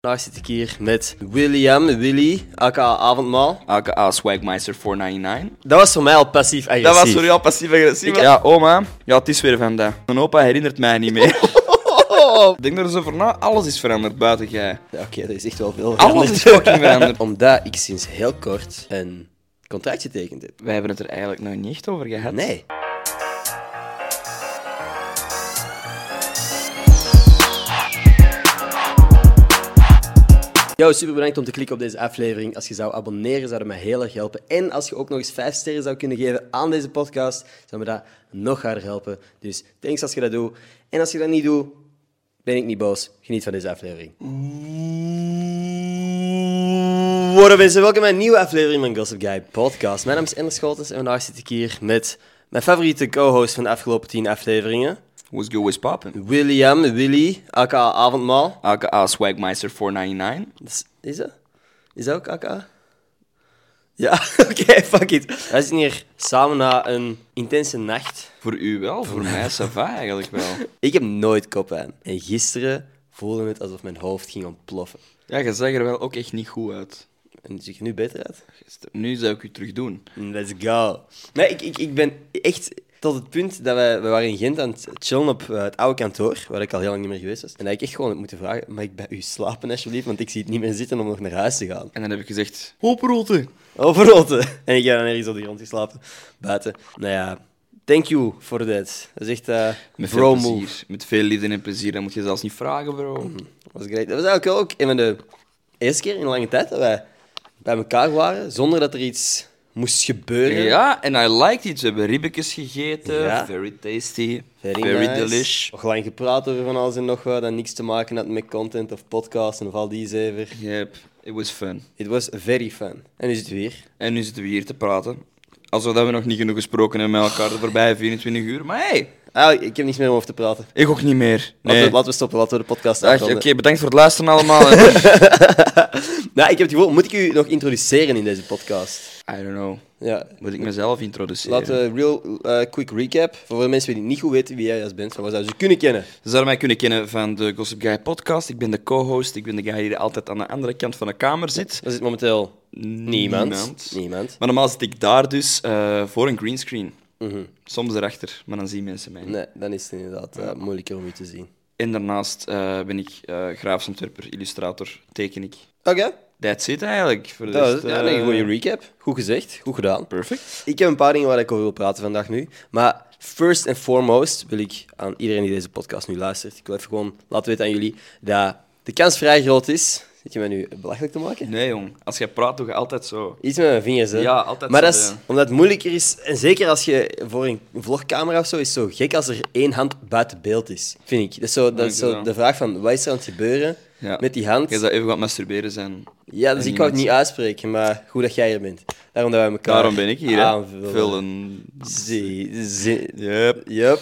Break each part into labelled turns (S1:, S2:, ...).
S1: Vandaag zit ik hier met William, Willy, aka Avondmaal.
S2: aka ah, Swagmeister 499.
S1: Dat was voor mij al passief-agressief.
S2: Dat was voor jou passief-agressief.
S1: Ik-
S2: Ja, oma. Ja, het is weer vandaag. Mijn opa herinnert mij niet meer. Ik denk dat ze voor nou alles is veranderd buiten jij.
S1: Ja, Oké, dat is echt wel veel
S2: Alles is fucking veranderd.
S1: Omdat ik sinds heel kort een contract getekend heb.
S2: Wij hebben het er eigenlijk nog niet echt over gehad.
S1: Nee. Yo, super bedankt om te klikken op deze aflevering. Als je zou abonneren, zou dat mij heel erg helpen. En als je ook nog eens 5 sterren zou kunnen geven aan deze podcast, zou me dat nog harder helpen. Dus thanks als je dat doet. En als je dat niet doet, ben ik niet boos. Geniet van deze aflevering. Worden mensen, welkom bij een nieuwe aflevering van Gossip Guy Podcast. Mijn naam is Ender Scholtens en vandaag zit ik hier met mijn favoriete co-host van de afgelopen 10 afleveringen.
S2: Who's good with poppin'?
S1: William, Willy, aka Avondmaal.
S2: Aka ah, Swagmeister 499.
S1: Dat Is, is dat? Is dat ook aka? Ja, oké, fuck it. Wij zitten hier samen na een intense nacht.
S2: Voor u wel, voor mij Sava eigenlijk wel.
S1: Ik heb nooit kopwijn. En gisteren voelde het alsof mijn hoofd ging ontploffen.
S2: Ja, je zag er wel ook echt niet goed uit.
S1: En zie ik er nu beter uit?
S2: Nu zou ik u terug doen.
S1: Let's go. Nee, ik, ik, ik ben echt tot het punt dat wij, we waren in Gent aan het chillen op eh, het oude kantoor, waar ik al heel lang niet meer geweest was. En dat ik echt gewoon heb moeten vragen, mag ik bij u slapen alsjeblieft, want ik zie het niet meer zitten om nog naar huis te gaan.
S2: En dan heb ik gezegd... Hoprotte!
S1: Overrotten. En ik heb dan ergens op de grond geslapen, buiten. Nou ja, thank you for that. Dat is echt eh
S2: Met veel
S1: bro move.
S2: plezier. Met veel liefde en plezier. Dat moet je zelfs niet vragen, bro.
S1: Dat was great. Dat was eigenlijk wel ook een van de eerste keer in lange tijd dat wij bij elkaar waren, zonder dat er iets moest gebeuren.
S2: Ja, en I liked it. We hebben ribbekjes gegeten.
S1: Ja.
S2: Very tasty.
S1: Very,
S2: Very,
S1: nice.
S2: delish.
S1: Nog lang gepraat over van alles en nog wat. Dat niks te maken had met content of podcasts of al die zever.
S2: Yep, it was fun.
S1: It was very fun. En nu zitten we hier.
S2: En nu zitten we hier te praten. Alsof dat we nog niet genoeg gesproken hebben met elkaar de voorbije 24 uur. Maar hey,
S1: Ah, ik heb niks meer om over te praten. Laten
S2: ik ook niet meer.
S1: we-
S2: Nee.
S1: Laten, we, stoppen, laten we de podcast
S2: Dag, Oké,
S1: afronden.
S2: bedankt voor het luisteren allemaal. En-
S1: Nou, ik heb het gevoel, moet ik u nog introduceren in deze podcast?
S2: I don't know.
S1: Ja.
S2: Moet ik mezelf introduceren?
S1: Laten we real eh, quick recap. Voor de mensen die niet goed weten wie jij als bent, van waar zouden ze je kunnen kennen?
S2: Ze zouden mij kunnen kennen van de Gossip Guy podcast. Ik ben de co-host. Ik ben de guy die altijd aan de andere kant van de kamer zit.
S1: Er zit momenteel niemand.
S2: Niemand.
S1: Niemand.
S2: Maar normaal zit ik daar dus eh, voor een greenscreen. Soms erachter, maar dan zien mensen mij niet.
S1: Mhm. Nee, dan is het inderdaad eh, moeilijker om u te zien.
S2: En daarnaast eh, ben ik eh grafisch ontwerper, illustrator, teken ik.
S1: Oké.
S2: That's it eigenlijk. Voor de
S1: Dat
S2: rest,
S1: is ja, nee,
S2: Dus, eh,
S1: een goede recap. Goed gezegd, goed gedaan.
S2: Perfect.
S1: Ik heb een paar dingen waar ik over wil praten vandaag nu. Maar first and foremost wil ik aan iedereen die deze podcast nu luistert, ik wil even gewoon laten weten aan jullie dat de kans vrij groot is. Zit je mij nu belachelijk te maken?
S2: Nee, jong. Als jij praat, doe je altijd zo.
S1: Iets met mijn vingers, hè?
S2: Ja, altijd
S1: Maar
S2: zo,
S1: dat is
S2: ja.
S1: omdat het moeilijker is, en zeker als je voor een vlogcamera of zo, is het zo gek als er één hand buiten beeld is, vind ik. Dat is zo, dat is zo de
S2: Dankjewel.
S1: vraag van, wat is er aan het gebeuren
S2: Ja.
S1: met die hand?
S2: Jij zou even wat masturberen zijn.
S1: Ja, dus
S2: En
S1: ik wou het
S2: niemand-
S1: niet uitspreken, maar goed dat jij er bent. Daarom dat wij elkaar
S2: Daarom ben ik hier, hè.
S1: aanvullen.
S2: Vullen.
S1: Zie, zie,
S2: Yep.
S1: Yup.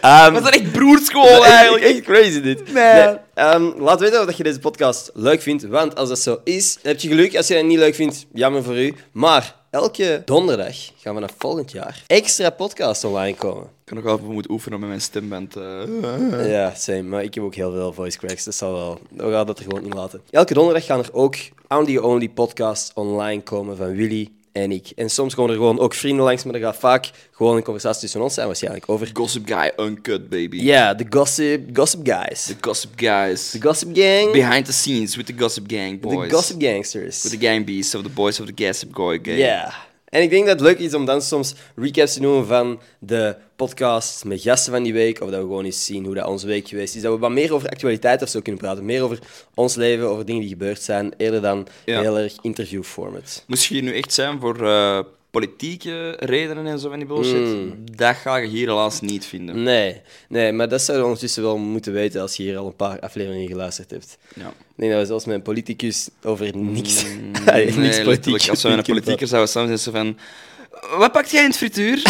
S1: Ehm,
S2: We zijn echt broerschool eigenlijk.
S1: Echt crazy dit.
S2: Nee.
S1: ehm, laat weten dat je deze podcast leuk vindt, want als dat zo is, dan heb je geluk. Als je dat niet leuk vindt, jammer voor u. Maar elke donderdag gaan we naar volgend jaar extra podcasts online komen.
S2: Ik kan nog wel even moeten oefenen met mijn stemband. eh.
S1: Ja, same. Maar ik heb ook heel veel voice cracks, dat zal wel. We gaan dat er gewoon niet laten. Elke donderdag gaan er ook audio-only podcasts online komen van Willy en ik. En soms komen er gewoon ook vrienden langs, maar er gaat vaak gewoon een conversatie tussen ons zijn waarschijnlijk over...
S2: Gossip Guy Uncut, baby.
S1: Ja, de gossip, gossip guys.
S2: The Gossip Guys.
S1: De Gossip Gang.
S2: Behind the scenes with the Gossip Gang
S1: De
S2: boys.
S1: Gossip Gangsters.
S2: With the gang beasts of the boys of the Gossip Guy gang.
S1: Ja. En ik denk dat het leuk is om dan soms recaps te doen van de podcast met gasten van die week. Of dat we gewoon eens zien hoe dat onze week geweest is. Dat we wat meer over actualiteit of zo kunnen praten. Meer over ons leven, over dingen die gebeurd zijn. Eerder dan
S2: Ja.
S1: heel erg interviewformat.
S2: Moest je hier nu echt zijn voor eh, politieke redenen en zo van die bullshit?
S3: Hmm.
S2: Dat ga je hier helaas niet vinden.
S1: Nee, nee, maar dat zou je ondertussen wel moeten weten als je hier al een paar afleveringen geluisterd hebt.
S2: Ja.
S1: Ik denk dat we zelfs met een politicus over niks,
S2: Mm,
S1: Allee, niks
S2: letterlijk.
S1: politiek
S2: Als we met
S1: kunnen
S2: een politieker zouden samen zijn, zo van... Wat pakt jij in het frituur?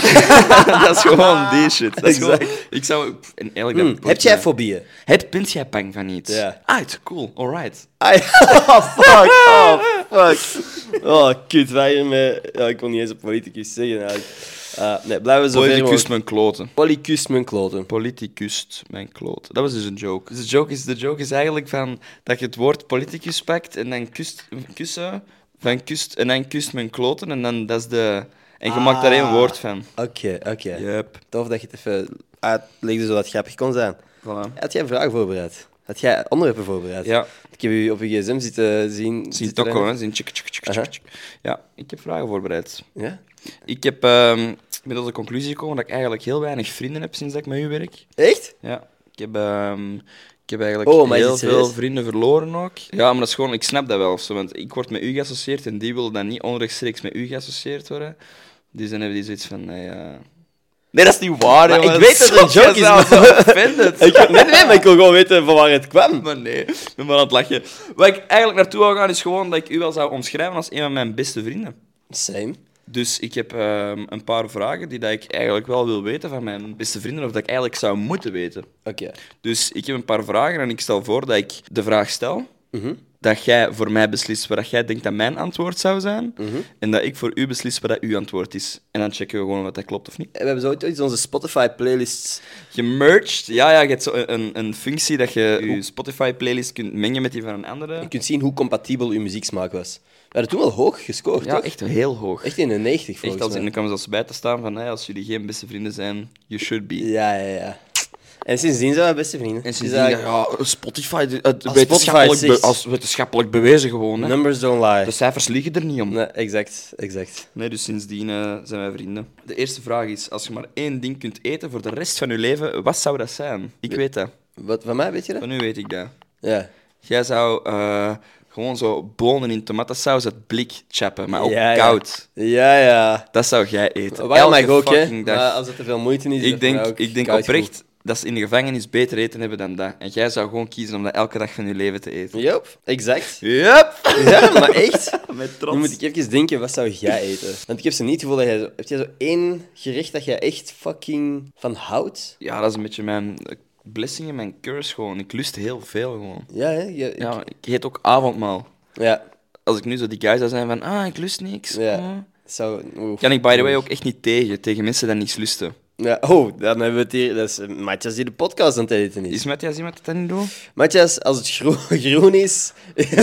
S2: dat is gewoon die shit. Dat is gewoon, ik zou... pff, En eigenlijk dat
S3: Hm,
S2: boeit
S3: heb jij
S2: mij.
S3: fobieën?
S2: Heb, bent jij bang van iets?
S3: Ja.
S2: Ah, it's cool. Alright.
S3: Ah, ja.
S1: Ah, fuck, oh, fuck. Oh, kut, wij hiermee. Ja, ik kon niet eens een politicus zeggen eigenlijk. Eh, nee, blijven zo ver
S2: Politicus
S1: mogelijk.
S2: mijn kloten.
S1: Polycus mijn kloten.
S2: Politicus mijn kloten. Dat was dus een joke. Dus de joke is, de joke is eigenlijk van dat je het woord politicus pakt en dan kust, kussen, van kust, en dan kust mijn kloten en dan dat is de... En je maakt daar één
S1: Ah.
S2: woord van.
S1: Oké, oké.
S2: Yep.
S1: Tof dat je het even uitlegde zodat het grappig kon zijn.
S2: Voilà.
S1: Had jij vragen voorbereid? Had jij onderwerpen voorbereid?
S2: Ja.
S1: Ik heb u op je gsm zitten zien.
S2: Zien
S1: zitten
S2: tokko,
S1: rennen.
S2: hè? Zien tjik, tjik, tjik,
S1: Aha.
S2: tjik, tjik. Ja, ik heb vragen voorbereid.
S1: Ja?
S2: Ik heb ehm met de conclusie gekomen dat ik eigenlijk heel weinig vrienden heb sinds dat ik met u werk.
S1: Echt?
S2: Ja, ik heb, ehm, ik heb eigenlijk
S1: Oh, maar is
S2: heel
S1: het
S2: veel
S1: serieus?
S2: vrienden verloren ook. Ja, maar dat is gewoon, ik snap dat wel. of zo, want ik word met u geassocieerd en die wil dan niet onrechtstreeks met u geassocieerd worden. Dus dan hebben die zoiets van, nee, eh, nee dat is niet waar,
S1: Maar
S2: jongen.
S1: ik weet dat het een
S2: Stop,
S1: joke
S2: jij
S1: is,
S2: zou
S1: maar-
S2: zo offended.
S1: Ik, nee, nee, nee, maar ik wil gewoon weten van waar het kwam.
S2: Maar nee, ik ben maar aan het lachen. Waar ik eigenlijk naartoe wil gaan is gewoon dat ik u wel zou omschrijven als een van mijn beste vrienden.
S1: Same.
S2: Dus ik heb ehm, een paar vragen die dat ik eigenlijk wel wil weten van mijn beste vrienden, of dat ik eigenlijk zou moeten weten.
S1: Oké.
S2: Dus ik heb een paar vragen en ik stel voor dat ik de vraag stel.
S1: Mhm.
S2: Dat jij voor mij beslist wat dat jij denkt dat mijn antwoord zou zijn. En dat ik voor u beslis wat dat uw antwoord is. En dan checken we gewoon of dat klopt of niet.
S1: We hebben zo ooit onze Spotify-playlists.
S2: Gemerged. Ja, ja, je hebt zo een, een- een functie dat je je Spotify-playlist kunt mengen met die van een andere.
S1: Je kunt zien hoe compatibel uw muzieksmaak was. We hadden toen wel hoog gescoord,
S2: Ja,
S1: toch?
S2: echt heel hoog.
S1: Echt in de 90
S2: Echt
S1: volgens
S2: als, en
S1: mij.
S2: dan kwam zelfs bij te staan van, hey, als jullie geen beste vrienden zijn, you should be.
S1: Ja, ja, ja. En sindsdien zijn we beste vrienden.
S2: En
S1: Het is
S2: ze
S1: eigenlijk-
S2: ja, Spotify, het
S1: Als
S2: wetenschappelijk,
S1: Spotify
S2: be-
S1: zegt-
S2: als wetenschappelijk bewezen gewoon. Hè.
S1: Numbers don't lie.
S2: De cijfers liegen er niet om.
S1: Nee, exact, exact.
S2: Nee, dus sindsdien eh, zijn wij vrienden. De eerste vraag is, als je maar één ding kunt eten voor de rest van je leven, wat zou dat zijn? Ik weet dat.
S1: Wat, van mij weet je dat?
S2: Van nu weet ik dat.
S1: Ja.
S2: Jij zou eh, gewoon zo bonen in tomatensaus uit blik chappen, maar ook
S1: Ja, ja.
S2: koud.
S1: Ja, ja.
S2: Dat zou jij eten.
S1: Waarom
S2: Elke
S1: mag ook, hè?
S2: fucking dag.
S1: Maar als het te veel moeite is, is dat
S2: Ik
S1: voor
S2: denk,
S1: mij ook
S2: ik denk
S1: koud
S2: oprecht dat ze in de gevangenis beter eten hebben dan dat. En jij zou gewoon kiezen om dat elke dag van je leven te
S1: goed.
S2: eten.
S1: Yup, exact.
S2: Yep.
S1: Ja, maar echt.
S2: Met
S1: Nu moet ik even denken, wat zou jij eten? Want ik heb zo niet het gevoel dat jij... Zo, heb jij zo één gerecht dat jij echt fucking van houdt?
S2: Ja, dat is een beetje mijn eh, blessing en mijn curse gewoon. Ik lust heel veel gewoon.
S1: Ja, hè? Je- ik- ja.
S2: Ja, ik eet ook avondmaal.
S1: ja.
S2: Als ik nu zo die guy zou zijn van, ah, ik lust niks. oh.
S1: Zou... oeh.
S2: Kan ik, by the way, ook echt niet tegen, tegen mensen die niks lusten.
S1: Ja, oh, dan hebben we het hier... Dat is eh, Matthias die de podcast aan het editen is.
S2: Is Matthias iemand dat dat niet doet?
S1: Matthias, als het groen, groen is,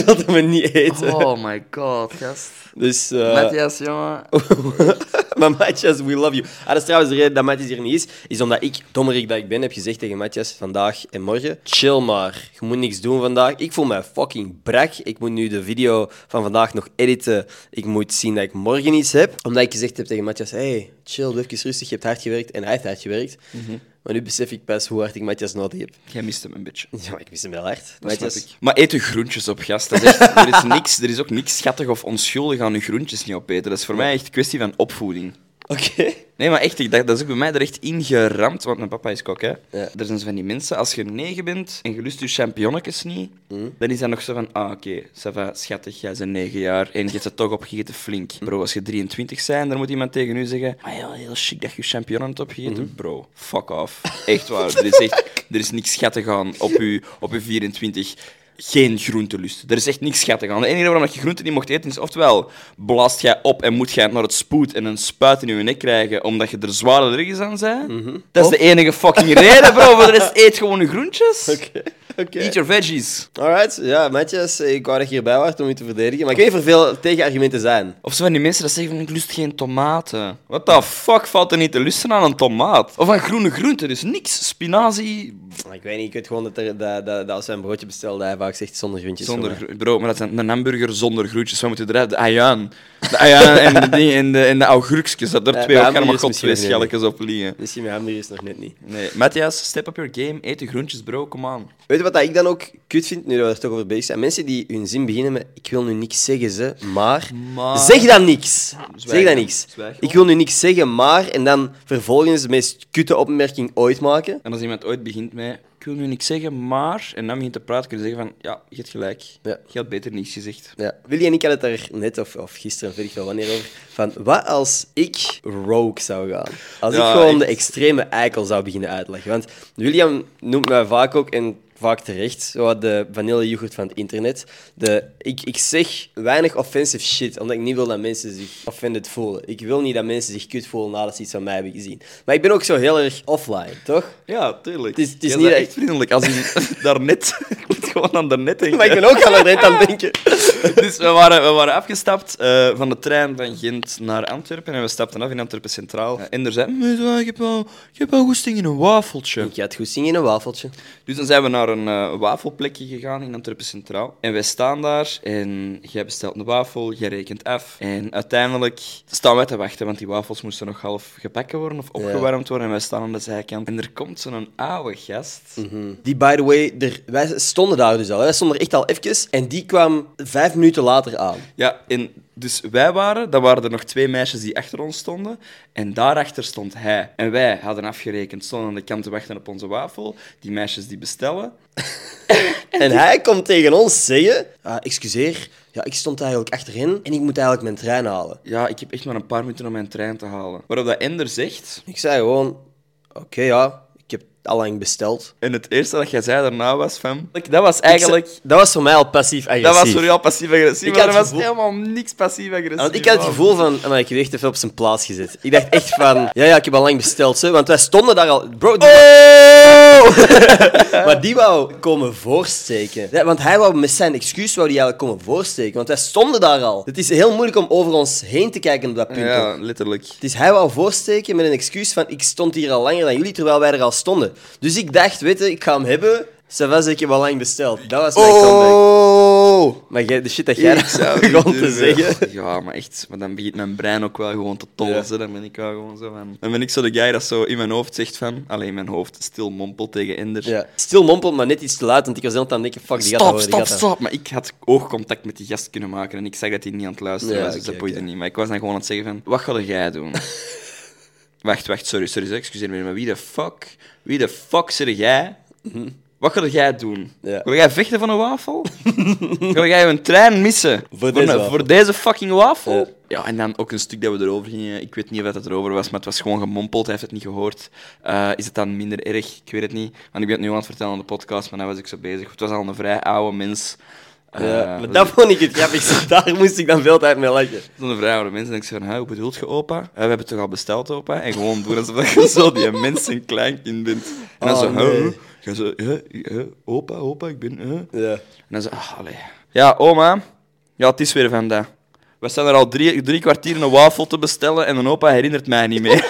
S1: dat we niet eten.
S2: Oh my god, gast.
S1: Dus... eh,
S2: Matthias, jongen.
S1: maar Matthias, we love you. Ah, dat is trouwens de reden dat Matthias hier niet is. Is omdat ik, dommerik dat ik ben, heb gezegd tegen Matthias vandaag en morgen. Chill maar. Je moet niks doen vandaag. Ik voel mij fucking brak. Ik moet nu de video van vandaag nog editen. Ik moet zien dat ik morgen iets heb. Omdat ik gezegd heb tegen Matthias, hey, chill, doe even rustig. Je hebt hard gewerkt. En hij heeft hard gewerkt.
S2: Mhm.
S1: Maar nu besef ik pas hoe hard ik Matthias nodig heb.
S2: Jij mist hem een beetje.
S1: Ja, maar ik mis hem wel hard.
S2: Dat snap
S1: Matthias,
S2: ik. Maar eet uw groentjes op, gast. Dat is echt- er, is niks, er is ook niks schattig of onschuldig aan uw groentjes niet opeten. Dat is voor mij echt een kwestie van opvoeding.
S1: oké.
S2: Nee, maar echt, ik dacht, dat is ook bij mij er echt ingeramd, want mijn papa is kok, hè.
S1: Ja.
S2: Er zijn zo van die mensen, als je negen bent en je lust je champignonnetjes niet, dan is dat nog zo van, ah, oké, ça va, schattig, jij bent negen jaar en je hebt ze toch opgegeten flink. Bro, als je 23 bent, dan moet iemand tegen u zeggen, ah, heel, heel chic dat je champignon hebt opgegeten. Bro, fuck off. Echt waar, er is echt, er is niks schattig aan op je, op je 24 geen groentelust. Er is echt niks schattig aan. De enige waarom dat je groenten niet mocht eten is oftewel blaast jij op en moet jij naar het spoed en een spuit in je nek krijgen omdat je er zwaar allergisch aan bent. Dat is de enige fucking reden, bro. Voor de rest eet gewoon je groentjes.
S1: Oké, oké.
S2: Eat your veggies.
S1: Alright, ja, Matthias, ik wou dat je hierbij was om je te verdedigen. Maar ik weet niet of er veel tegenargumenten zijn.
S2: Of zo van die mensen dat zeggen van ik lust geen tomaten. What the fuck valt er niet te lusten aan een tomaat? Of aan groene groenten, dus niks. Spinazie,
S1: Maar Ik weet niet, ik weet gewoon dat, er, dat, dat, dat als wij een broodje bestellen, dat hij vaak zegt zonder groentjes.
S2: Zonder
S1: voor mij.
S2: groe- bro, maar dat is een, een hamburger zonder groentjes. Wat moeten we eruit? De ajuin. De ajuin en de, ding, en de, en de augurkjes. Dat er
S1: Ja, de
S2: twee ook allemaal
S1: hamburgers misschien
S2: godvleeschelletjes op liggen.
S1: Misschien mijn hamburgers nog net niet.
S2: Nee, Matthias, step up your game. Eet de groentjes, bro. Come on.
S1: Weet je wat wat dat ik dan ook kut vind, nu dat we er toch over bezig zijn? Mensen die hun zin beginnen met ik wil nu niks zeggen, ze, maar...
S2: Maar-
S1: Zeg dan niks. zeg dan
S2: gewoon.
S1: niks.
S2: Zwijg gewoon.
S1: Ik wil nu niks zeggen, maar... En dan vervolgens de meest kutte opmerking ooit maken.
S2: En als iemand ooit begint met, ik wil nu niks zeggen, maar... En dan begint te praten, kun je zeggen van, ja, je hebt gelijk.
S1: Ja.
S2: Je had beter niets gezegd.
S1: Ja. Willy en ik hadden het daar net, of, of gisteren, weet ik wel wanneer over, van wat als ik rogue zou gaan? Als
S2: Ja,
S1: ik gewoon
S2: echt.
S1: de extreme eikel zou beginnen uitleggen. Want William noemt mij vaak ook, en vaak terecht, zo wat de vanillejoghurt van het internet. De, ik, ik zeg weinig offensive shit, omdat ik niet wil dat mensen zich offended voelen. Ik wil niet dat mensen zich kut voelen nadat ze iets van mij hebben gezien. Maar ik ben ook zo heel erg offline, toch?
S2: Ja, tuurlijk.
S1: Het is- het is
S2: Jij
S1: niet
S2: bent
S1: dat-
S2: echt vriendelijk. Als in, daarnet... ik moet gewoon aan daarnet denken.
S1: Maar ik ben ook al net aan het denken.
S2: Dus we waren, we waren afgestapt eh, van de trein van Gent naar Antwerpen en we stapten af in Antwerpen Centraal. en er zei, "Mees, ah, ik heb wel, ik heb wel goesting in een wafeltje.
S1: Ik ga het goed zingen in een wafeltje.
S2: Dus dan zijn we naar een eh, wafelplekje gegaan in Antwerpen Centraal. En wij staan daar en jij bestelt een wafel, jij rekent af. En uiteindelijk staan wij te wachten, want die wafels moesten nog half gebakken worden of opgewarmd worden. En wij staan aan de zijkant. En er komt zo'n oude gast.
S1: Die, by the way, er, wij stonden daar dus al. hè. Wij stonden er echt al even. En die kwam vijf minuten later aan.
S2: Ja, en dus wij waren, dan waren er nog twee meisjes die achter ons stonden. En daarachter stond hij. En wij hadden afgerekend, stonden aan de kant te wachten op onze wafel. Die meisjes die bestellen.
S1: En hij komt tegen ons zeggen... "Ah, excuseer, ja, ik stond eigenlijk achterin en ik moet eigenlijk mijn trein halen.
S2: Ja, ik heb echt maar een paar minuten om mijn trein te halen. Waarop dat Ender zegt.
S1: Ik zei gewoon... Oké, ja, ik heb het allang besteld.
S2: En het eerste dat jij zei daarna was van... Dat was eigenlijk...
S1: Ik zei- dat was voor mij al
S2: dat
S1: passief-agressief.
S2: was voor jou passief-agressief.
S1: Ik
S2: maar
S1: had
S2: Er
S1: het
S2: was
S1: gevoel-
S2: helemaal niks passief-agressief.
S1: Want ik had het
S2: aan.
S1: gevoel van... Maar ik heb echt even op zijn plaats gezet. Ik dacht echt van... Ja, ja, ik heb al lang besteld, hè, want wij stonden daar al... Bro, die-
S2: Oh!
S1: Maar die wou komen voorsteken. Ja, want hij wou met zijn excuus wou die eigenlijk komen voorsteken. Want wij stonden daar al. Het is heel moeilijk om over ons heen te kijken op dat punt.
S2: Ja,
S1: ook.
S2: letterlijk.
S1: Het is hij wou voorsteken met een excuus van ik stond hier al langer dan jullie, terwijl wij er al stonden. Dus ik dacht, weet je, ik ga hem hebben. Ça was, ik heb al lang besteld. Dat was mijn comeback.
S2: Oh!
S1: Maar jij, de shit dat jij
S2: Ik zou
S1: daar begon
S2: niet
S1: te
S2: durven.
S1: zeggen...
S2: Ja, maar echt, maar dan begint mijn brein ook wel gewoon te tolzen.
S1: Ja.
S2: Dan ben ik wel gewoon zo van. Dan ben ik zo de guy dat zo in mijn hoofd zegt van. Alleen in mijn hoofd stil mompelt tegen Ender.
S1: Ja. Stil mompel, maar net iets te laat, want ik was heel aan het denken, fuck, die gaat dat
S2: Stop,
S1: horen, die
S2: stop,
S1: gaat dat horen.
S2: stop. Maar ik had oogcontact met die gast kunnen maken en ik zag dat hij niet aan het luisteren
S1: Ja,
S2: was, dus
S1: oké,
S2: dat boeide
S1: oké.
S2: niet. Maar ik was dan gewoon aan het zeggen van, wat ga jij doen? wacht, wacht, sorry, sorry, sorry, excuseer me, maar wie de fuck, wie de fuck zit jij? Wat ga jij doen?
S1: Ja.
S2: Wil jij vechten van een wafel? Wil jij een trein missen?
S1: Voor deze
S2: een-
S1: wafel.
S2: voor deze fucking wafel?
S1: Ja.
S2: Ja. en dan ook een stuk dat we erover gingen. Ik weet niet of dat erover was, maar het was gewoon gemompeld. Hij heeft het niet gehoord. Eh, is het dan minder erg? Ik weet het niet. Want ik ben het nu aan het vertellen aan de podcast, maar dan was ik zo bezig. Het was al een vrij oude mens. Eh,
S1: Ja, maar
S2: was-
S1: dat vond ik het grappigste. Daar moest ik dan veel tijd mee lachen.
S2: dan de vrouw de mensen en ik zeg van, "Hè, hoe bedoelt je opa? "Hè, we hebben het toch al besteld, opa? En gewoon doen alsof je zo die mens een kleinkind bent. En dan
S1: Oh,
S2: zo,
S1: nee.
S2: "Hè, hè?" zo, "Hè, hè, opa, opa, ik ben... hè?"
S1: Ja.
S2: En dan zo, ah, allee. Ja, oma, ja, het is weer vandaag. We zijn er al drie, drie kwartier een wafel te bestellen en een opa herinnert mij niet meer.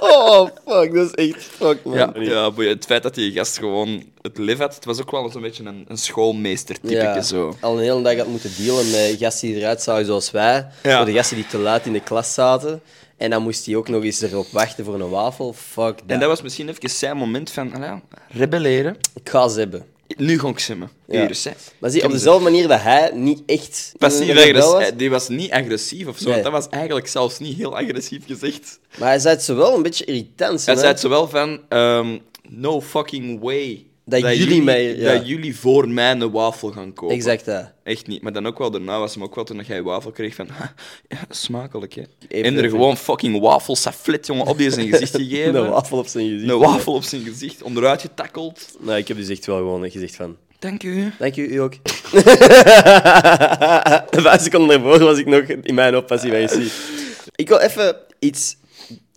S1: Oh, fuck, dat is echt fuck, man.
S2: ja, ja, boeien. het feit dat die gast gewoon het lef had, het was ook wel zo'n beetje een, een schoolmeester-typeke zo.
S1: Al een hele dag had moeten dealen met gasten die eruit zagen zoals wij.
S2: Ja.
S1: Voor de gasten die te laat in de klas zaten. En dan moest hij ook nog eens erop wachten voor een wafel. Fuck dat.
S2: En dat was misschien even zijn moment van, allee, rebelleren.
S1: Ik ga ze hebben.
S2: Nu ga ik simmen.
S1: Ja.
S2: Hier is hè.
S1: Maar zie,
S2: Ik
S1: op
S2: heb
S1: dezelfde manier dat hij niet echt...
S2: Passief
S1: een Eh, rebel was,
S2: agressief. eh, Die was niet agressief of zo.
S1: Nee.
S2: want Dat was eigenlijk zelfs niet heel agressief gezegd.
S1: Maar hij zei het ze wel een beetje irritant.
S2: Hij
S1: hè?
S2: zei het zowel van: ehm, No fucking way.
S1: Dat jullie mij- ja.
S2: dat jullie voor mij een wafel gaan kopen.
S1: Exact dat.
S2: Echt niet. Maar dan ook wel daarna was hem ook wel toen dat jij wafel kreeg van. "Ha, ja, smakelijk hè.
S1: Even
S2: en er
S1: even.
S2: gewoon fucking wafel saflet jongen op die zijn gezicht gegeven.
S1: Een wafel op zijn gezicht.
S2: Een wafel op zijn gezicht, onderuit getakkeld.
S1: Nou, ik heb dus echt wel gewoon gezegd van...
S2: Dank u.
S1: Dank u, u ook. Vijf seconden daarvoor was ik nog in mijn oppas bij Ik wil even iets,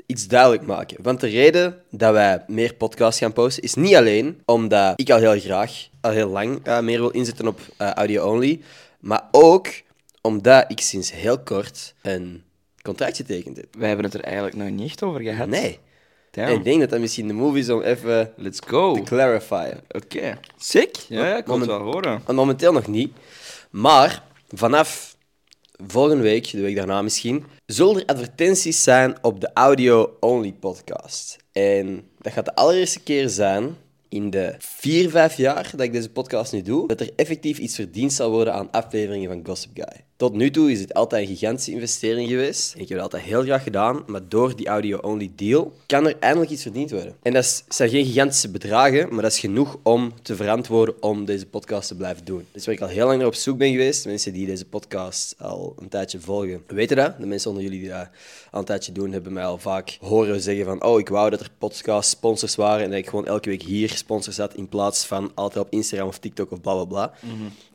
S1: iets duidelijk maken. Want de reden dat wij meer podcasts gaan posten is niet alleen omdat ik al heel graag, al heel lang eh, meer wil inzetten op eh, audio-only. Maar ook omdat ik sinds heel kort een contract getekend heb.
S2: Wij hebben het er eigenlijk nog niet echt over gehad.
S1: Nee.
S2: Damn.
S1: En ik denk dat dat misschien de move is om even
S2: Let's go.
S1: te clarifyen.
S2: Oké. Sick. Ja, ik kon het wel horen.
S1: En Momenteel nog niet. Maar vanaf volgende week, de week daarna misschien, zullen er advertenties zijn op de Audio Only podcast. En dat gaat de allereerste keer zijn in de vier, vijf jaar dat ik deze podcast nu doe, dat er effectief iets verdiend zal worden aan afleveringen van Gossip Guy. Tot nu toe is het altijd een gigantische investering geweest. En ik heb dat altijd heel graag gedaan, maar door die audio-only deal kan er eindelijk iets verdiend worden. En dat is- zijn geen gigantische bedragen, maar dat is genoeg om te verantwoorden om deze podcast te blijven doen. Dus waar ik al heel lang naar op zoek ben geweest, mensen die deze podcast al een tijdje volgen, weten dat. De mensen onder jullie die dat al een tijdje doen, hebben mij al vaak horen zeggen van oh, ik wou dat er podcast sponsors waren en dat ik gewoon elke week hier sponsors had in plaats van altijd op Instagram of TikTok of bla bla bla.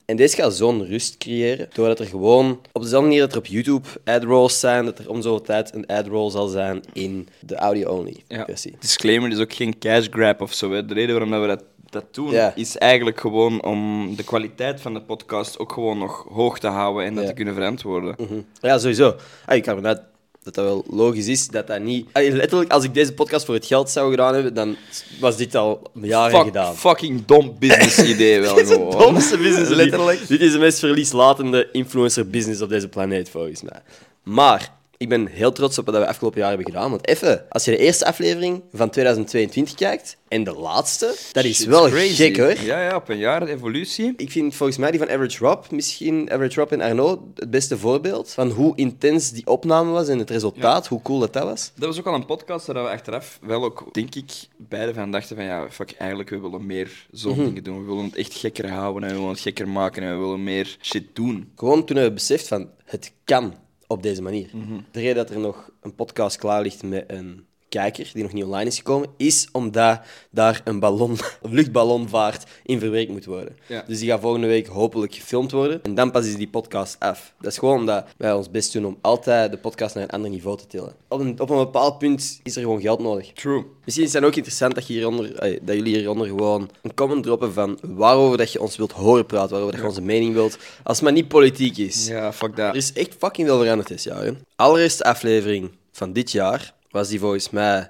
S1: En deze gaat zo'n rust creëren, doordat er gewoon op dezelfde manier dat er op YouTube ad rolls zijn, dat er om zoveel tijd een ad roll zal zijn in de audio-only
S2: Ja.
S1: versie.
S2: Disclaimer, is ook geen cash grab of zo. Hè. De reden waarom dat we dat, dat doen,
S1: Ja.
S2: is eigenlijk gewoon om de kwaliteit van de podcast ook gewoon nog hoog te houden en dat
S1: Ja. Mhm.
S2: te kunnen verantwoorden.
S1: Ja, sowieso. Ah, ik kan ervan uit dat dat wel logisch is, dat dat niet... Ah, letterlijk, als ik deze podcast voor het geld zou gedaan hebben, dan was dit al jaren
S2: Fuck-
S1: gedaan.
S2: Fucking dom business idee wel
S1: Dit is
S2: gewoon.
S1: het domste business,
S2: Letterlijk.
S1: letterlijk. Dit is de meest verlieslatende influencer business op deze planeet, volgens mij. Maar ik ben heel trots op wat we afgelopen jaar hebben gedaan. Want even, als je de eerste aflevering van 2022 kijkt en de laatste, dat is
S2: Shit's
S1: wel
S2: crazy.
S1: gek hoor.
S2: Ja, ja, op een jaar evolutie.
S1: Ik vind volgens mij die van Average Rob, misschien Average Rob en Arnaud, het beste voorbeeld van hoe intens die opname was en het resultaat, hoe cool dat dat was.
S2: Dat was ook al een podcast waar we achteraf wel ook, denk ik, beide van dachten van ja, fuck, eigenlijk we willen meer zo'n
S1: Mhm.
S2: dingen doen. We willen het echt gekker houden en we willen het gekker maken en we willen meer shit doen.
S1: Gewoon toen hebben we beseft van, het kan op deze manier. De reden dat er nog een podcast klaar ligt met een kijker die nog niet online is gekomen, is omdat daar een ballon, een luchtballonvaart in verwerkt moet worden.
S2: Ja.
S1: Dus die gaat volgende week hopelijk gefilmd worden. En dan pas is die podcast af. Dat is gewoon omdat wij ons best doen om altijd de podcast naar een ander niveau te tillen. Op een, op een bepaald punt is er gewoon geld nodig.
S2: True.
S1: Misschien is het dan ook interessant dat, je hieronder, eh, dat jullie hieronder gewoon een comment droppen van waarover dat je ons wilt horen praten, waarover dat je onze mening wilt, als het maar niet politiek is.
S2: Ja, fuck
S1: Er
S2: dat.
S1: is echt Dus fucking veel veranderd dit jaar. hè. Allereerste aflevering van dit jaar was die volgens mij... Dat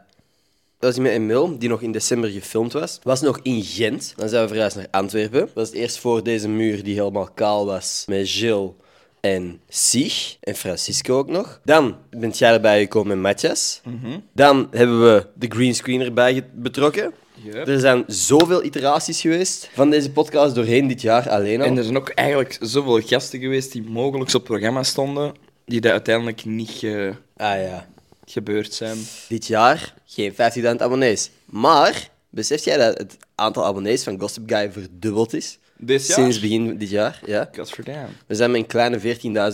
S1: was die met Emil, die nog in december gefilmd was. Was nog in Gent. Dan zijn we verhuisd naar Antwerpen. Dat was het eerst voor deze muur die helemaal kaal was. Met Gilles en Sig. En Francisco ook nog. Dan bent jij erbij gekomen met Matthias.
S2: Mhm.
S1: Dan hebben we de greenscreen erbij ge- betrokken.
S2: Yep.
S1: Er zijn zoveel iteraties geweest van deze podcast doorheen dit jaar alleen al.
S2: En er zijn ook eigenlijk zoveel gasten geweest die mogelijk op programma stonden, die dat uiteindelijk niet ge-
S1: Ah ja.
S2: gebeurd zijn.
S1: Dit jaar geen 15.000 abonnees. Maar besef jij dat het aantal abonnees van Gossip Guy verdubbeld is?
S2: Dit jaar?
S1: Sinds begin dit jaar, ja.
S2: God for damn.
S1: We zijn met een kleine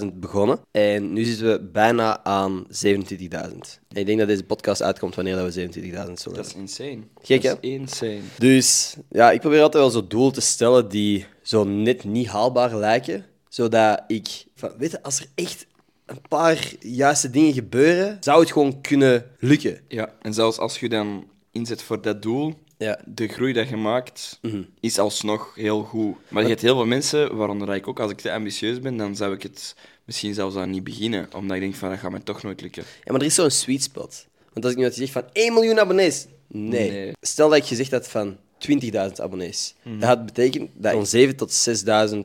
S1: 14.000 begonnen. En nu zitten we bijna aan 27.000. En ik denk dat deze podcast uitkomt wanneer dat we 27.000 zullen hebben.
S2: Dat is insane.
S1: Gek,
S2: Dat
S1: hè?
S2: is insane.
S1: Dus ja, ik probeer altijd wel zo doelen te stellen die zo net niet haalbaar lijken. Zodat ik, van, weet je, als er echt een paar juiste dingen gebeuren, zou het gewoon kunnen lukken.
S2: Ja, en zelfs als je dan inzet voor dat doel,
S1: Ja. Mhm.
S2: de groei dat je maakt, is alsnog heel goed. Maar je hebt heel veel mensen, waaronder ik ook, als ik te ambitieus ben, dan zou ik het misschien zelfs aan niet beginnen. Omdat ik denk van, dat gaat mij toch nooit lukken.
S1: Ja, maar er is zo'n sweet spot. Want als ik nu had gezegd van 1 miljoen abonnees. Nee.
S2: Nee.
S1: Stel dat ik gezegd had van 20.000 abonnees.
S2: Mhm.
S1: Dat had betekend dat van 7 tot 6.000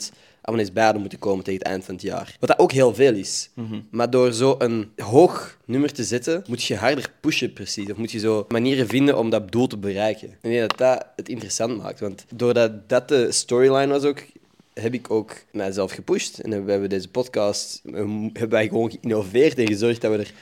S1: abonnees bij hadden moeten komen tegen het eind van het jaar. Wat dat ook heel veel is.
S2: Mhm.
S1: Maar door zo'n hoog nummer te zetten, moet je harder pushen precies. Of moet je zo manieren vinden om dat doel te bereiken. En ik denk dat dat het interessant maakt. Want doordat dat de storyline was ook, heb ik ook mijzelf gepusht. En hebben we deze podcast eh, m- hebben wij gewoon geïnnoveerd en gezorgd dat we er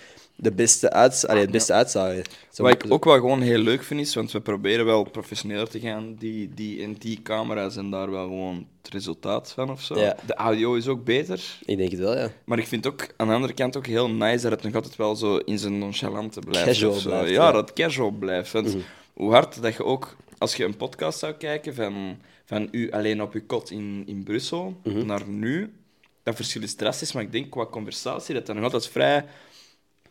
S1: de beste uit, allee, het beste uitzagen. Zo
S2: Ah, Wat
S1: moet
S2: ik
S1: het
S2: ook wel gewoon heel leuk vind is, want we proberen wel professioneler te gaan. Die, die en die camera's en daar wel gewoon het resultaat van of zo.
S1: Ja.
S2: De audio is ook beter.
S1: Ik denk het wel, ja.
S2: Maar ik vind ook aan de andere kant ook heel nice dat het nog altijd wel zo in zijn nonchalante blijft.
S1: Casual
S2: of zo.
S1: blijft,
S2: ja,
S1: ja. Mhm.
S2: dat het casual blijft. Want hoe hard dat je ook, als je een podcast zou kijken van, van u alleen op uw kot in, in Brussel
S1: Mhm.
S2: naar nu, dat verschil is drastisch. Maar ik denk qua conversatie dat dat nog altijd vrij,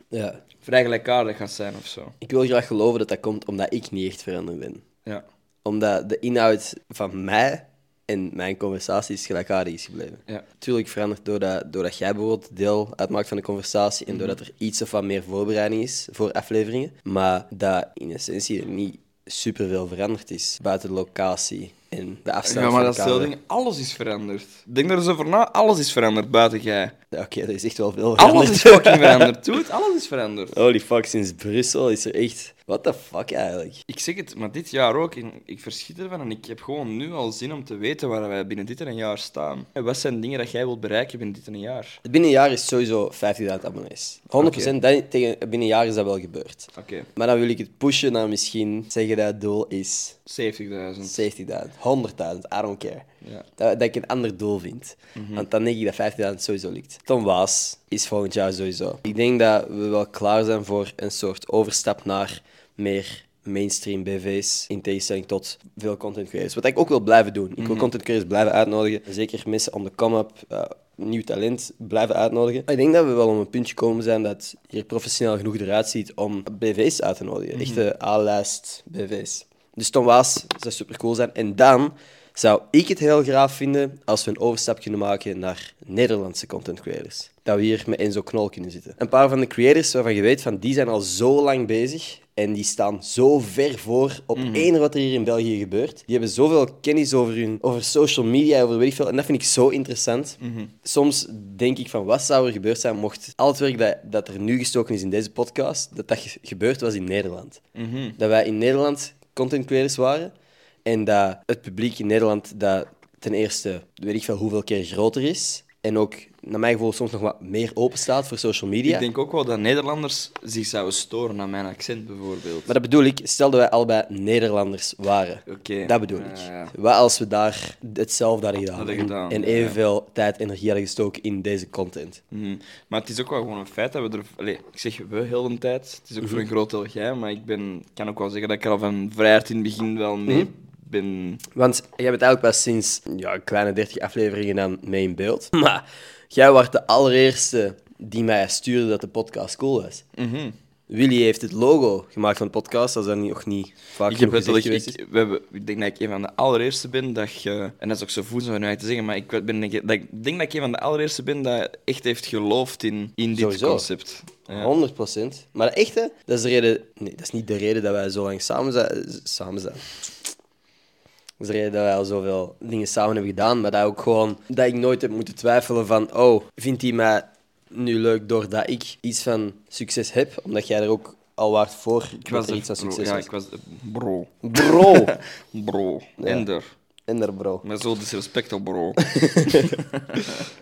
S1: ja.
S2: vrij gelijkaardig gaat zijn of zo.
S1: Ik wil graag geloven dat dat komt omdat ik niet echt veranderd ben.
S2: Ja.
S1: Omdat de inhoud van mij en mijn conversaties gelijkaardig is gebleven.
S2: Ja.
S1: Tuurlijk verandert doordat, doordat jij bijvoorbeeld deel uitmaakt van de conversatie
S2: Mhm.
S1: en doordat er iets of wat meer voorbereiding is voor afleveringen. Maar dat in essentie niet superveel veranderd is buiten de locatie en de afstand
S2: Ja, maar
S1: van
S2: dat is
S1: de
S2: het hele
S1: camera.
S2: ding. Alles is veranderd. Denk daar eens over na. Alles is veranderd, buiten jij.
S1: Ja, Oké, er is echt wel veel veranderd.
S2: Alles is fucking veranderd. Dude, alles is veranderd.
S1: Holy fuck, sinds Brussel is er echt What the fuck eigenlijk?
S2: Ik zeg het, maar dit jaar ook. en Ik verschiet ervan en ik heb gewoon nu al zin om te weten waar wij binnen dit en een jaar staan. En wat zijn dingen dat jij wilt bereiken binnen dit en een jaar?
S1: Binnen een jaar is sowieso 50.000 abonnees. 100% dat, tegen, binnen een jaar is dat wel gebeurd.
S2: Oké,
S1: Maar dan wil ik het pushen naar misschien zeggen dat het doel is
S2: 70.000.
S1: 70.000, 100.000, I don't care.
S2: Ja.
S1: Dat, dat ik een ander doel vind. Want dan denk ik dat 50.000 sowieso lukt. Tom Waas is volgend jaar sowieso. Ik denk dat we wel klaar zijn voor een soort overstap naar meer mainstream BV's. In tegenstelling tot veel content creators. Wat ik ook wil blijven doen. Ik wil content creators blijven uitnodigen. Zeker mensen on the come-up. eh, Nieuw talent blijven uitnodigen. Ik denk dat we wel om een puntje komen zijn dat je er professioneel genoeg eruit ziet om BV's uit te nodigen. Echte A-lijst BV's. Dus Tom Waas zou super cool zijn. En dan zou ik het heel graag vinden als we een overstap kunnen maken naar Nederlandse content creators. Dat we hier met Enzo Knol kunnen zitten. Een paar van de creators waarvan je weet van die zijn al zo lang bezig. En die staan zo ver voor op één wat er hier in België gebeurt. Die hebben zoveel kennis over, hun, over social media, over weet ik veel. En dat vind ik zo interessant. Soms denk ik van, wat zou er gebeurd zijn mocht al het werk dat, dat er nu gestoken is in deze podcast, dat dat ge- gebeurd was in Nederland. Dat wij in Nederland content creators waren. En dat het publiek in Nederland dat ten eerste weet ik veel hoeveel keer groter is. En ook, naar mijn gevoel, soms nog wat meer open staat voor social media.
S2: Ik denk ook wel dat Nederlanders zich zouden storen aan mijn accent, bijvoorbeeld.
S1: Maar dat bedoel ik, stel dat wij allebei Nederlanders waren.
S2: Oké.
S1: Dat bedoel
S2: Ja,
S1: ik.
S2: ja, ja.
S1: Wat als we daar hetzelfde hadden gedaan?
S2: Hadden
S1: en-
S2: gedaan,
S1: En
S2: ja.
S1: evenveel tijd en energie hadden gestoken in deze content.
S2: Mhm. Maar het is ook wel gewoon een feit dat we er... Allee, ik zeg we heel de tijd. Het is ook
S1: Mhm.
S2: voor een groot deel jij, maar ik ben, kan ook wel zeggen dat ik er al van vrij hard in het begin wel
S1: Mhm.
S2: mee ben...
S1: Want jij bent eigenlijk pas sinds ja, een kleine 30 afleveringen dan mee in beeld. Maar jij was de allereerste die mij stuurde dat de podcast cool was.
S2: Mhm.
S1: Willy heeft het logo gemaakt van de podcast, dat is dan nog niet vaak
S2: Ik heb
S1: genoeg gezegd Ah,
S2: letterlijk,
S1: geweest. is.
S2: ik, we hebben, ik denk dat ik een van de allereerste ben dat je, en dat is ook zo voedzaam om nu eigenlijk te zeggen, maar ik, ben, denk, dat, ik denk dat ik een van de allereerste ben dat echt heeft geloofd in, in dit
S1: Sowieso.
S2: concept. Ja.
S1: 100%. Maar de echte, dat is de reden. Nee, dat is niet de reden dat wij zo lang samen zijn. Samen zijn. Dat is de reden dat wij al zoveel dingen samen hebben gedaan. Maar dat, ook gewoon, dat ik nooit heb moeten twijfelen van... Oh, vindt hij mij nu leuk doordat ik iets van succes heb? Omdat jij er ook al waard voor
S2: Ik
S1: dat
S2: was
S1: er
S2: er
S1: iets van
S2: bro,
S1: succes
S2: ja,
S1: was.
S2: ik was de bro.
S1: Bro!
S2: Bro. Ender.
S1: En daar bro.
S2: Met zo disrespect op bro.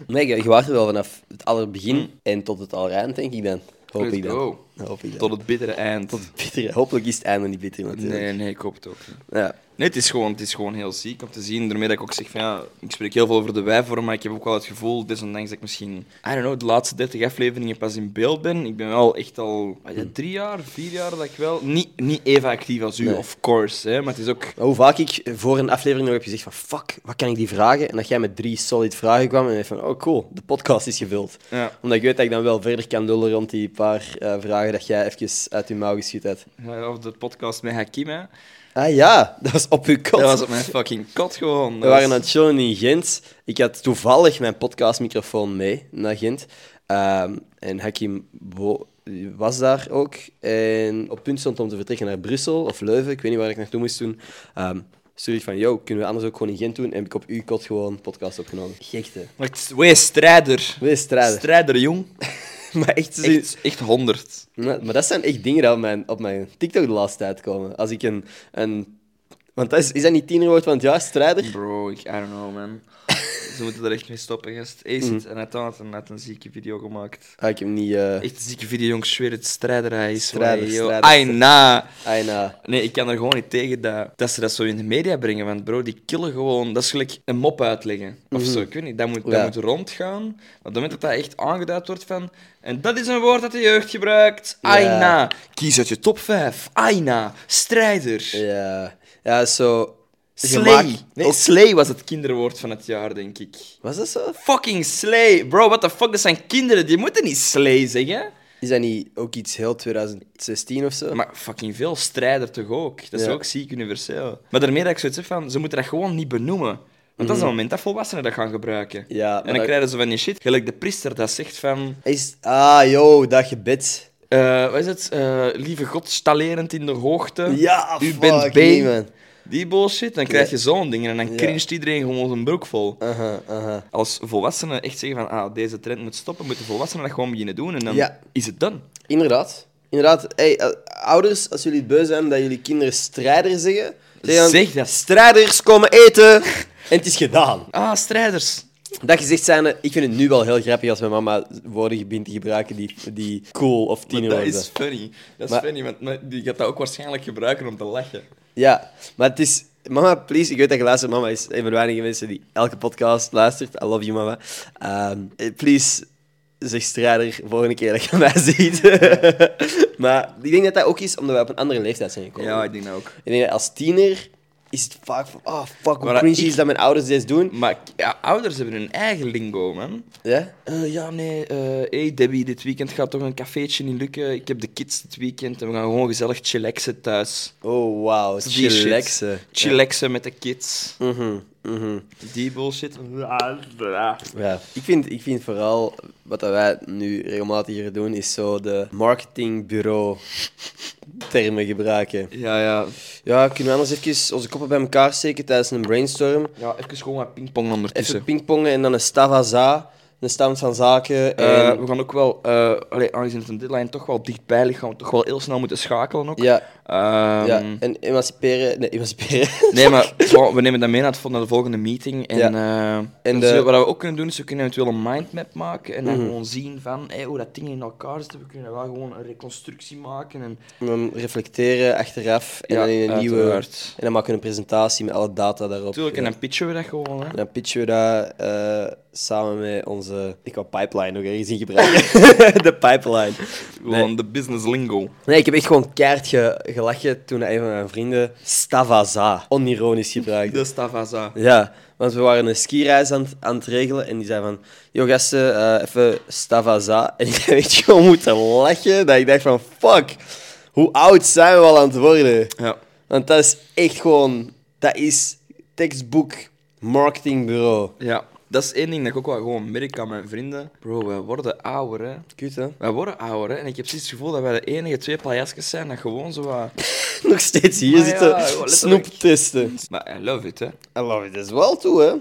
S1: Nee, je, je waart er wel vanaf het allerbegin en tot het allereind, denk ik dan. Hoop
S2: Hm. Let's
S1: ik dan.
S2: go.
S1: Hoop ik dan.
S2: Tot het bittere eind.
S1: Bitter. Hopelijk is het einde niet bitter natuurlijk.
S2: Nee, nee, ik hoop het ook niet.
S1: Ja.
S2: Nee, het is, gewoon, het is gewoon heel ziek om te zien. Daarmee dat ik ook zeg van ja, ik spreek heel veel over de wijvorm, maar ik heb ook wel het gevoel, desondanks dat ik misschien, I don't know, de laatste 30 afleveringen pas in beeld ben. Ik ben wel echt al wat is het, drie jaar, vier jaar dat ik wel. Niet, niet even actief als u,
S1: Nee.
S2: of course, hè, maar het is ook.
S1: Maar Hoe vaak ik voor een aflevering nog heb gezegd van fuck, wat kan ik die vragen? En dat jij met drie solid vragen kwam en ik dacht van oh cool, de podcast is gevuld.
S2: Ja,
S1: Omdat ik weet dat ik dan wel verder kan lullen rond die paar eh, vragen dat jij even uit je mouw geschiet hebt.
S2: ja, of de podcast met Hakim, hè.
S1: Ah ja, dat was op uw kot.
S2: Dat was op mijn fucking kot gewoon. Dat
S1: We waren aan
S2: was-
S1: het chillen in Gent. Ik had toevallig mijn podcastmicrofoon mee naar Gent. Ehm, en Hakim Bo- was daar ook. En op punt stond om te vertrekken naar Brussel of Leuven. Ik weet niet waar ik naartoe moest doen. Ehm stuurde ik van, yo, kunnen we anders ook gewoon in Gent doen? En heb ik op uw kot gewoon een podcast opgenomen. Gekte.
S2: Maar het is- Wees strijder.
S1: Wees strijden.
S2: Strijder, jong.
S1: maar echt, zo-
S2: Echt, echt 100.
S1: Nou, Maar dat zijn echt dingen die op mijn, op mijn TikTok de laatste tijd komen. Als ik een... een want dat is, is dat niet tienerwoord van het jaar, strijder?
S2: Bro, ik, I don't know, man. Ze moeten er echt mee stoppen, gast.
S1: Mhm.
S2: Acid en Atant en net een zieke video gemaakt.
S1: Ah, ik heb hem niet... eh
S2: Echt een zieke video, jongens. Ik zweer het, strijderij is.
S1: Strijder,
S2: waar, joh.
S1: strijder,
S2: Ai, na.
S1: ah, en, ah,
S2: Nee, ik kan er gewoon niet tegen dat, dat ze dat zo in de media brengen. Want bro, die killen gewoon... Dat is gelijk een mop uitleggen. Of zo, ik weet niet. Dat moet,
S1: Mhm. Ja.
S2: dat moet rondgaan. Maar op het moment dat dat echt aangeduid wordt van... En dat is een woord dat de jeugd gebruikt. Ai,
S1: Ja.
S2: na. Kies uit je top 5. Ai, na. Strijder.
S1: Ja, ja zo.
S2: Slay.
S1: gemaakt-
S2: Nee,
S1: ook-
S2: slay was het kinderwoord van het jaar, denk ik.
S1: Was dat zo?
S2: Fucking slay. Bro, what the fuck? Dat zijn kinderen. Die moeten niet slay zeggen.
S1: Is dat niet ook iets heel 2016 of zo?
S2: Maar fucking veel strijder toch ook? Dat is
S1: Ja.
S2: ook ziek universeel. Maar daarmee dat ik zoiets heb van, ze moeten dat gewoon niet benoemen. Want dat is het moment dat volwassenen dat gaan gebruiken.
S1: Mhm. Ja, maar
S2: en dan
S1: dat-
S2: krijgen ze van die shit. Gelijk de priester dat zegt van...
S1: Is, ah, yo, dat gebed.
S2: eh, wat is het? Eh, lieve God, stalerend in de hoogte.
S1: Ja,
S2: U
S1: fuck,
S2: bent
S1: nee,
S2: been.
S1: man.
S2: Die bullshit. Dan krijg je zo'n ding. En dan
S1: Ja.
S2: cringet iedereen gewoon zijn broek vol.
S1: Aha, aha.
S2: Als volwassenen echt zeggen van, ah, deze trend moet stoppen, moeten volwassenen dat gewoon beginnen doen. En dan
S1: Ja.
S2: is het done.
S1: Inderdaad. Inderdaad, hey, eh, ouders, als jullie het beu zijn dat jullie kinderen strijder zeggen, zeg dan,
S2: Zeg dat.
S1: Strijders komen eten! En het is gedaan.
S2: Ah, strijders.
S1: Dat gezegd zijnde, ik vind het nu wel heel grappig als mijn mama woorden begint te gebruiken die, die cool of tien
S2: dat
S1: worden.
S2: is funny. Dat is
S1: Maar-
S2: funny, want maar die gaat dat ook waarschijnlijk gebruiken om te lachen.
S1: Ja, maar het is... Mama, please, ik weet dat je luistert. Mama is een van de weinige mensen die elke podcast luistert. I love you, mama. Ehm, eh, please, zeg strijder volgende keer dat je mij ziet. maar ik denk dat dat ook is omdat wij op een andere leeftijd zijn gekomen.
S2: Ja, ik denk dat ook.
S1: Ik denk dat als tiener is het vaak van... Oh, fuck, hoe
S2: Maar
S1: cringy
S2: ik-
S1: is dat mijn ouders dit doen.
S2: Maar k- ja, ouders hebben hun eigen lingo, man.
S1: Ja?
S2: Eh, ja, nee, eh hey Debbie, dit weekend gaat toch een cafeetje niet lukken. Ik heb de kids dit weekend en we gaan gewoon gezellig chillaxen thuis.
S1: Oh, wow.
S2: Die shit.
S1: Chillaxen.
S2: Chillaxen met de kids.
S1: Mhm, mhm.
S2: Die bullshit.
S1: Ja, ik vind, ik vind vooral wat dat wij nu regelmatig hier doen, is zo de marketingbureau termen gebruiken.
S2: Ja, ja.
S1: Ja, kunnen we anders even onze koppen bij elkaar steken tijdens een brainstorm?
S2: Ja, even gewoon wat pingpong ondertussen.
S1: Even pingpongen en dan een stavaza, een stand van zaken.
S2: Eh,
S1: En...
S2: we gaan ook wel, eh allee, aangezien het een deadline toch wel dichtbij ligt, gaan we toch wel heel snel moeten schakelen ook.
S1: ja,
S2: Ehm,
S1: ja, en emanciperen. Nee, emanciperen.
S2: Nee, maar gewoon, we nemen dat mee naar, het vol- naar de volgende meeting. En,
S1: Ja.
S2: eh,
S1: En
S2: dus,
S1: de- Mhm.
S2: eh, wat we ook kunnen doen, is we kunnen eventueel een mindmap maken en dan gewoon zien van hey, hoe dat ding in elkaar zit. We kunnen wel gewoon een reconstructie maken. En,
S1: En dan reflecteren achteraf en
S2: Ja,
S1: dan in een nieuwe.
S2: uiteraard.
S1: En dan maken we een presentatie met alle data daarop.
S2: Tuurlijk,
S1: Ja.
S2: en dan pitchen we dat gewoon. Hè.
S1: En dan pitchen we dat eh, samen met onze... Ik wou pipeline nog ergens in gebruiken. de pipeline.
S2: Gewoon de business lingo.
S1: Nee, ik heb echt gewoon keihard ge- gelachen toen een van mijn vrienden Stavaza onironisch gebruikte.
S2: De Stavaza.
S1: Ja, want we waren een skireis aan, het- aan het regelen en die zei van... Yo gasten, eh, even Stavaza. En ik heb echt gewoon moeten lachen dat ik dacht van... Fuck, hoe oud zijn we al aan het worden?
S2: Ja.
S1: Want dat is echt gewoon... Dat is tekstboek marketingbureau.
S2: ja. Dat is één ding dat ik ook wel gewoon merk aan mijn vrienden. Bro, wij worden ouder, hè.
S1: Kut, hè?
S2: Wij worden ouder, hè. En ik heb precies het gevoel dat wij de enige twee pajasjes zijn dat gewoon zo wat...
S1: Nog steeds hier
S2: Maar ja,
S1: zitten
S2: letterlijk.
S1: snoep testen.
S2: Maar I love it, hè.
S1: I love it as well, too, hè?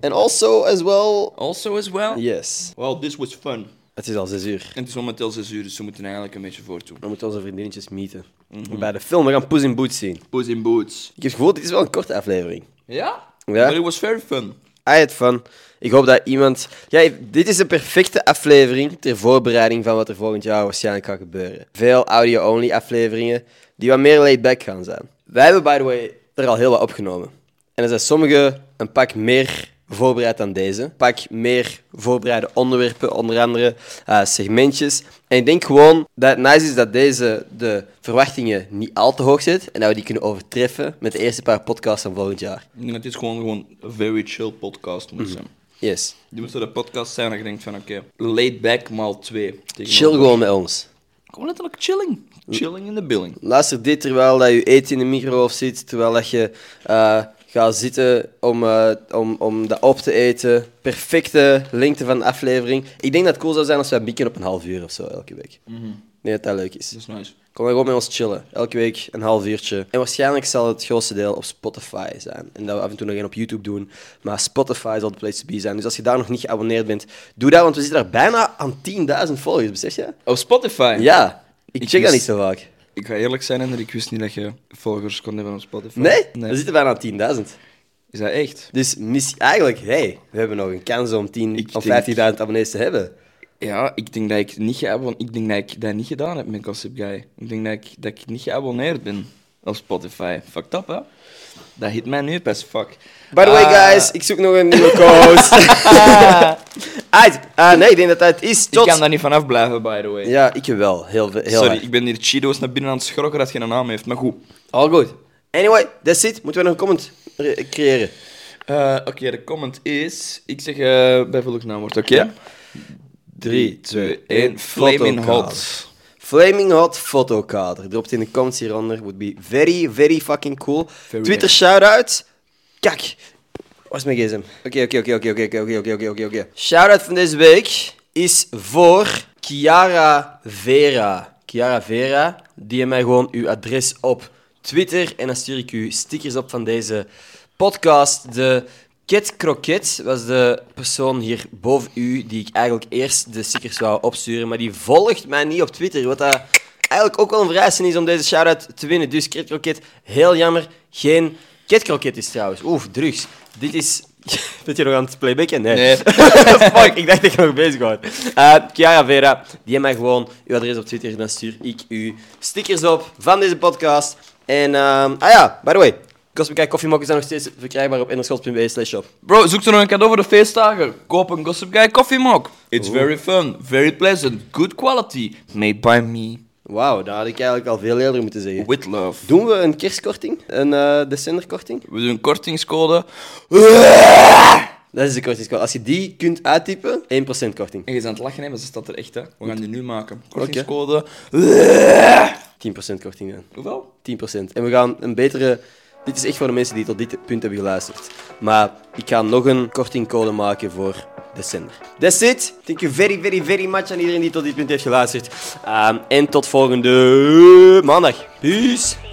S1: En also as well...
S2: Also as well...
S1: Yes.
S2: Well, this was fun.
S1: Het is al zes uur.
S2: En het is momenteel 6 uur, dus we moeten eigenlijk een beetje voortdoen.
S1: We moeten onze vriendinnetjes meeten.
S2: Mhm.
S1: Bij de film, we gaan Poes in Boots zien.
S2: Puss in Boots.
S1: Ik heb het gevoel, dit is wel een korte aflevering.
S2: Ja?
S1: Ja.
S2: But it was very fun.
S1: I had fun. Ah, Ik hoop dat iemand... Ja, dit is de perfecte aflevering ter voorbereiding van wat er volgend jaar waarschijnlijk gaat gebeuren. Veel audio-only afleveringen die wat meer laid-back gaan zijn. Wij hebben, by the way, er al heel wat opgenomen. En er zijn sommige een pak meer voorbereid dan deze. Een pak meer voorbereide onderwerpen, onder andere eh, segmentjes. En ik denk gewoon dat het nice is dat deze de verwachtingen niet al te hoog zit. En dat we die kunnen overtreffen met de eerste paar podcasts van volgend jaar.
S2: Ik denk dat dit gewoon, gewoon een very chill podcast
S1: Mhm.
S2: moet zijn.
S1: Yes.
S2: Dit moet zo de podcast zijn dat je denkt van, oké, laid back maal 2.
S1: Chill gewoon met ons.
S2: Gewoon letterlijk chilling. Chilling in the billing.
S1: Luister dit terwijl dat je eten in de microgolf zit, terwijl dat je eh, gaat zitten om, eh, om, om dat op te eten. Perfecte lengte van de aflevering. Ik denk dat het cool zou zijn als wij bieken op een half uur of zo elke week. Nee, dat dat leuk is.
S2: Dat is nice.
S1: Kom dan gewoon met ons chillen. Elke week een half uurtje. En waarschijnlijk zal het grootste deel op Spotify zijn. En dat we af en toe nog één op YouTube doen. Maar Spotify zal de place to be zijn. Dus als je daar nog niet geabonneerd bent, doe dat. Want we zitten daar bijna aan 10.000 volgers, besef je?
S2: Op Spotify?
S1: Ja, ik
S2: Ik
S1: check dat
S2: mis-
S1: niet zo vaak.
S2: Ik ga eerlijk zijn, Ender, ik wist niet dat je volgers kon hebben op Spotify.
S1: Nee? We zitten bijna aan 10.000.
S2: Is dat echt?
S1: Dus mis, eigenlijk, hey, we hebben nog een kans om 10
S2: Ik
S1: of 15.000
S2: denk-
S1: abonnees te hebben.
S2: Ja, ik denk dat ik niet geabonneerd... Ik denk dat ik dat niet gedaan heb met Gossip Guy. Ik denk dat ik, dat ik niet geabonneerd ben op Spotify. Fucked up, hè? Dat hit mij nu pas, fuck.
S1: By the way,
S2: Ah,
S1: guys, ik zoek nog een nieuwe co-host. Uit. Ah, nee, ik denk dat dat het is. Tot...
S2: Ik kan daar niet vanaf blijven, by the way.
S1: Ja, ik wel. Heel, ve- heel
S2: Sorry,
S1: hard.
S2: ik ben hier Cheetos naar binnen aan het schrokken dat geen naam heeft, maar goed.
S1: All good. Anyway, that's it. Moeten we nog een comment re- creëren?
S2: Eh, oké, de comment is... Ik zeg eh bijvoeglijk naamwoord, oké? 3, 2, 1, Flaming Hot.
S1: Flaming Hot fotokader. Drop het in de comments hieronder. Would be very, very fucking cool.
S2: Very
S1: Twitter shout-out. Kak. Waar is mijn gsm? Oké, oké, oké, oké, oké, oké, oké, oké, oké, oké, oké. Shout-out van deze week is voor Chiara Vera. Chiara Vera, die mij gewoon uw adres op Twitter en dan stuur ik u stickers op van deze podcast. De Ket Croquet was de persoon hier boven u die ik eigenlijk eerst de stickers wou opsturen, maar die volgt mij niet op Twitter, wat dat eigenlijk ook wel een vereiste is om deze shout-out te winnen. Dus Kit Kroket, heel jammer, geen Kit Kroket is trouwens. Oef, drugs. Dit is... Ben je nog aan het playbacken? Nee. Fuck, ik dacht dat je nog bezig was. Eh Chiara Vera, die mij gewoon uw adres op Twitter. Dan stuur ik u stickers op van deze podcast. En, ehm, ah ja, by the way. Cosmica koffiemokken zijn nog steeds verkrijgbaar op enerschots.be slash shop.
S2: Bro, zoek er nog een cadeau voor de feestdagen. Koop een Gossip Guy coffee mug. It's very fun, very pleasant, good quality. Made by me,
S1: Wauw, dat had ik eigenlijk al veel eerder moeten zeggen.
S2: with love.
S1: Doen we een kerstkorting? Een eh, decemberkorting?
S2: We doen een kortingscode
S1: Dat is de kortingscode. Als je die kunt uittypen, 1% korting.
S2: En je is aan het lachen, hè, maar ze staat er echt, hè. We gaan die nu maken. Kortingscode.
S1: 10% korting dan.
S2: Hoeveel?
S1: 10%. En we gaan een betere... Dit is echt voor de mensen die tot dit punt hebben geluisterd. Maar ik ga nog een kortingcode maken voor december. That's it. Thank you very, very, very much aan iedereen die tot dit punt heeft geluisterd. Ehm, en tot volgende maandag. Peace.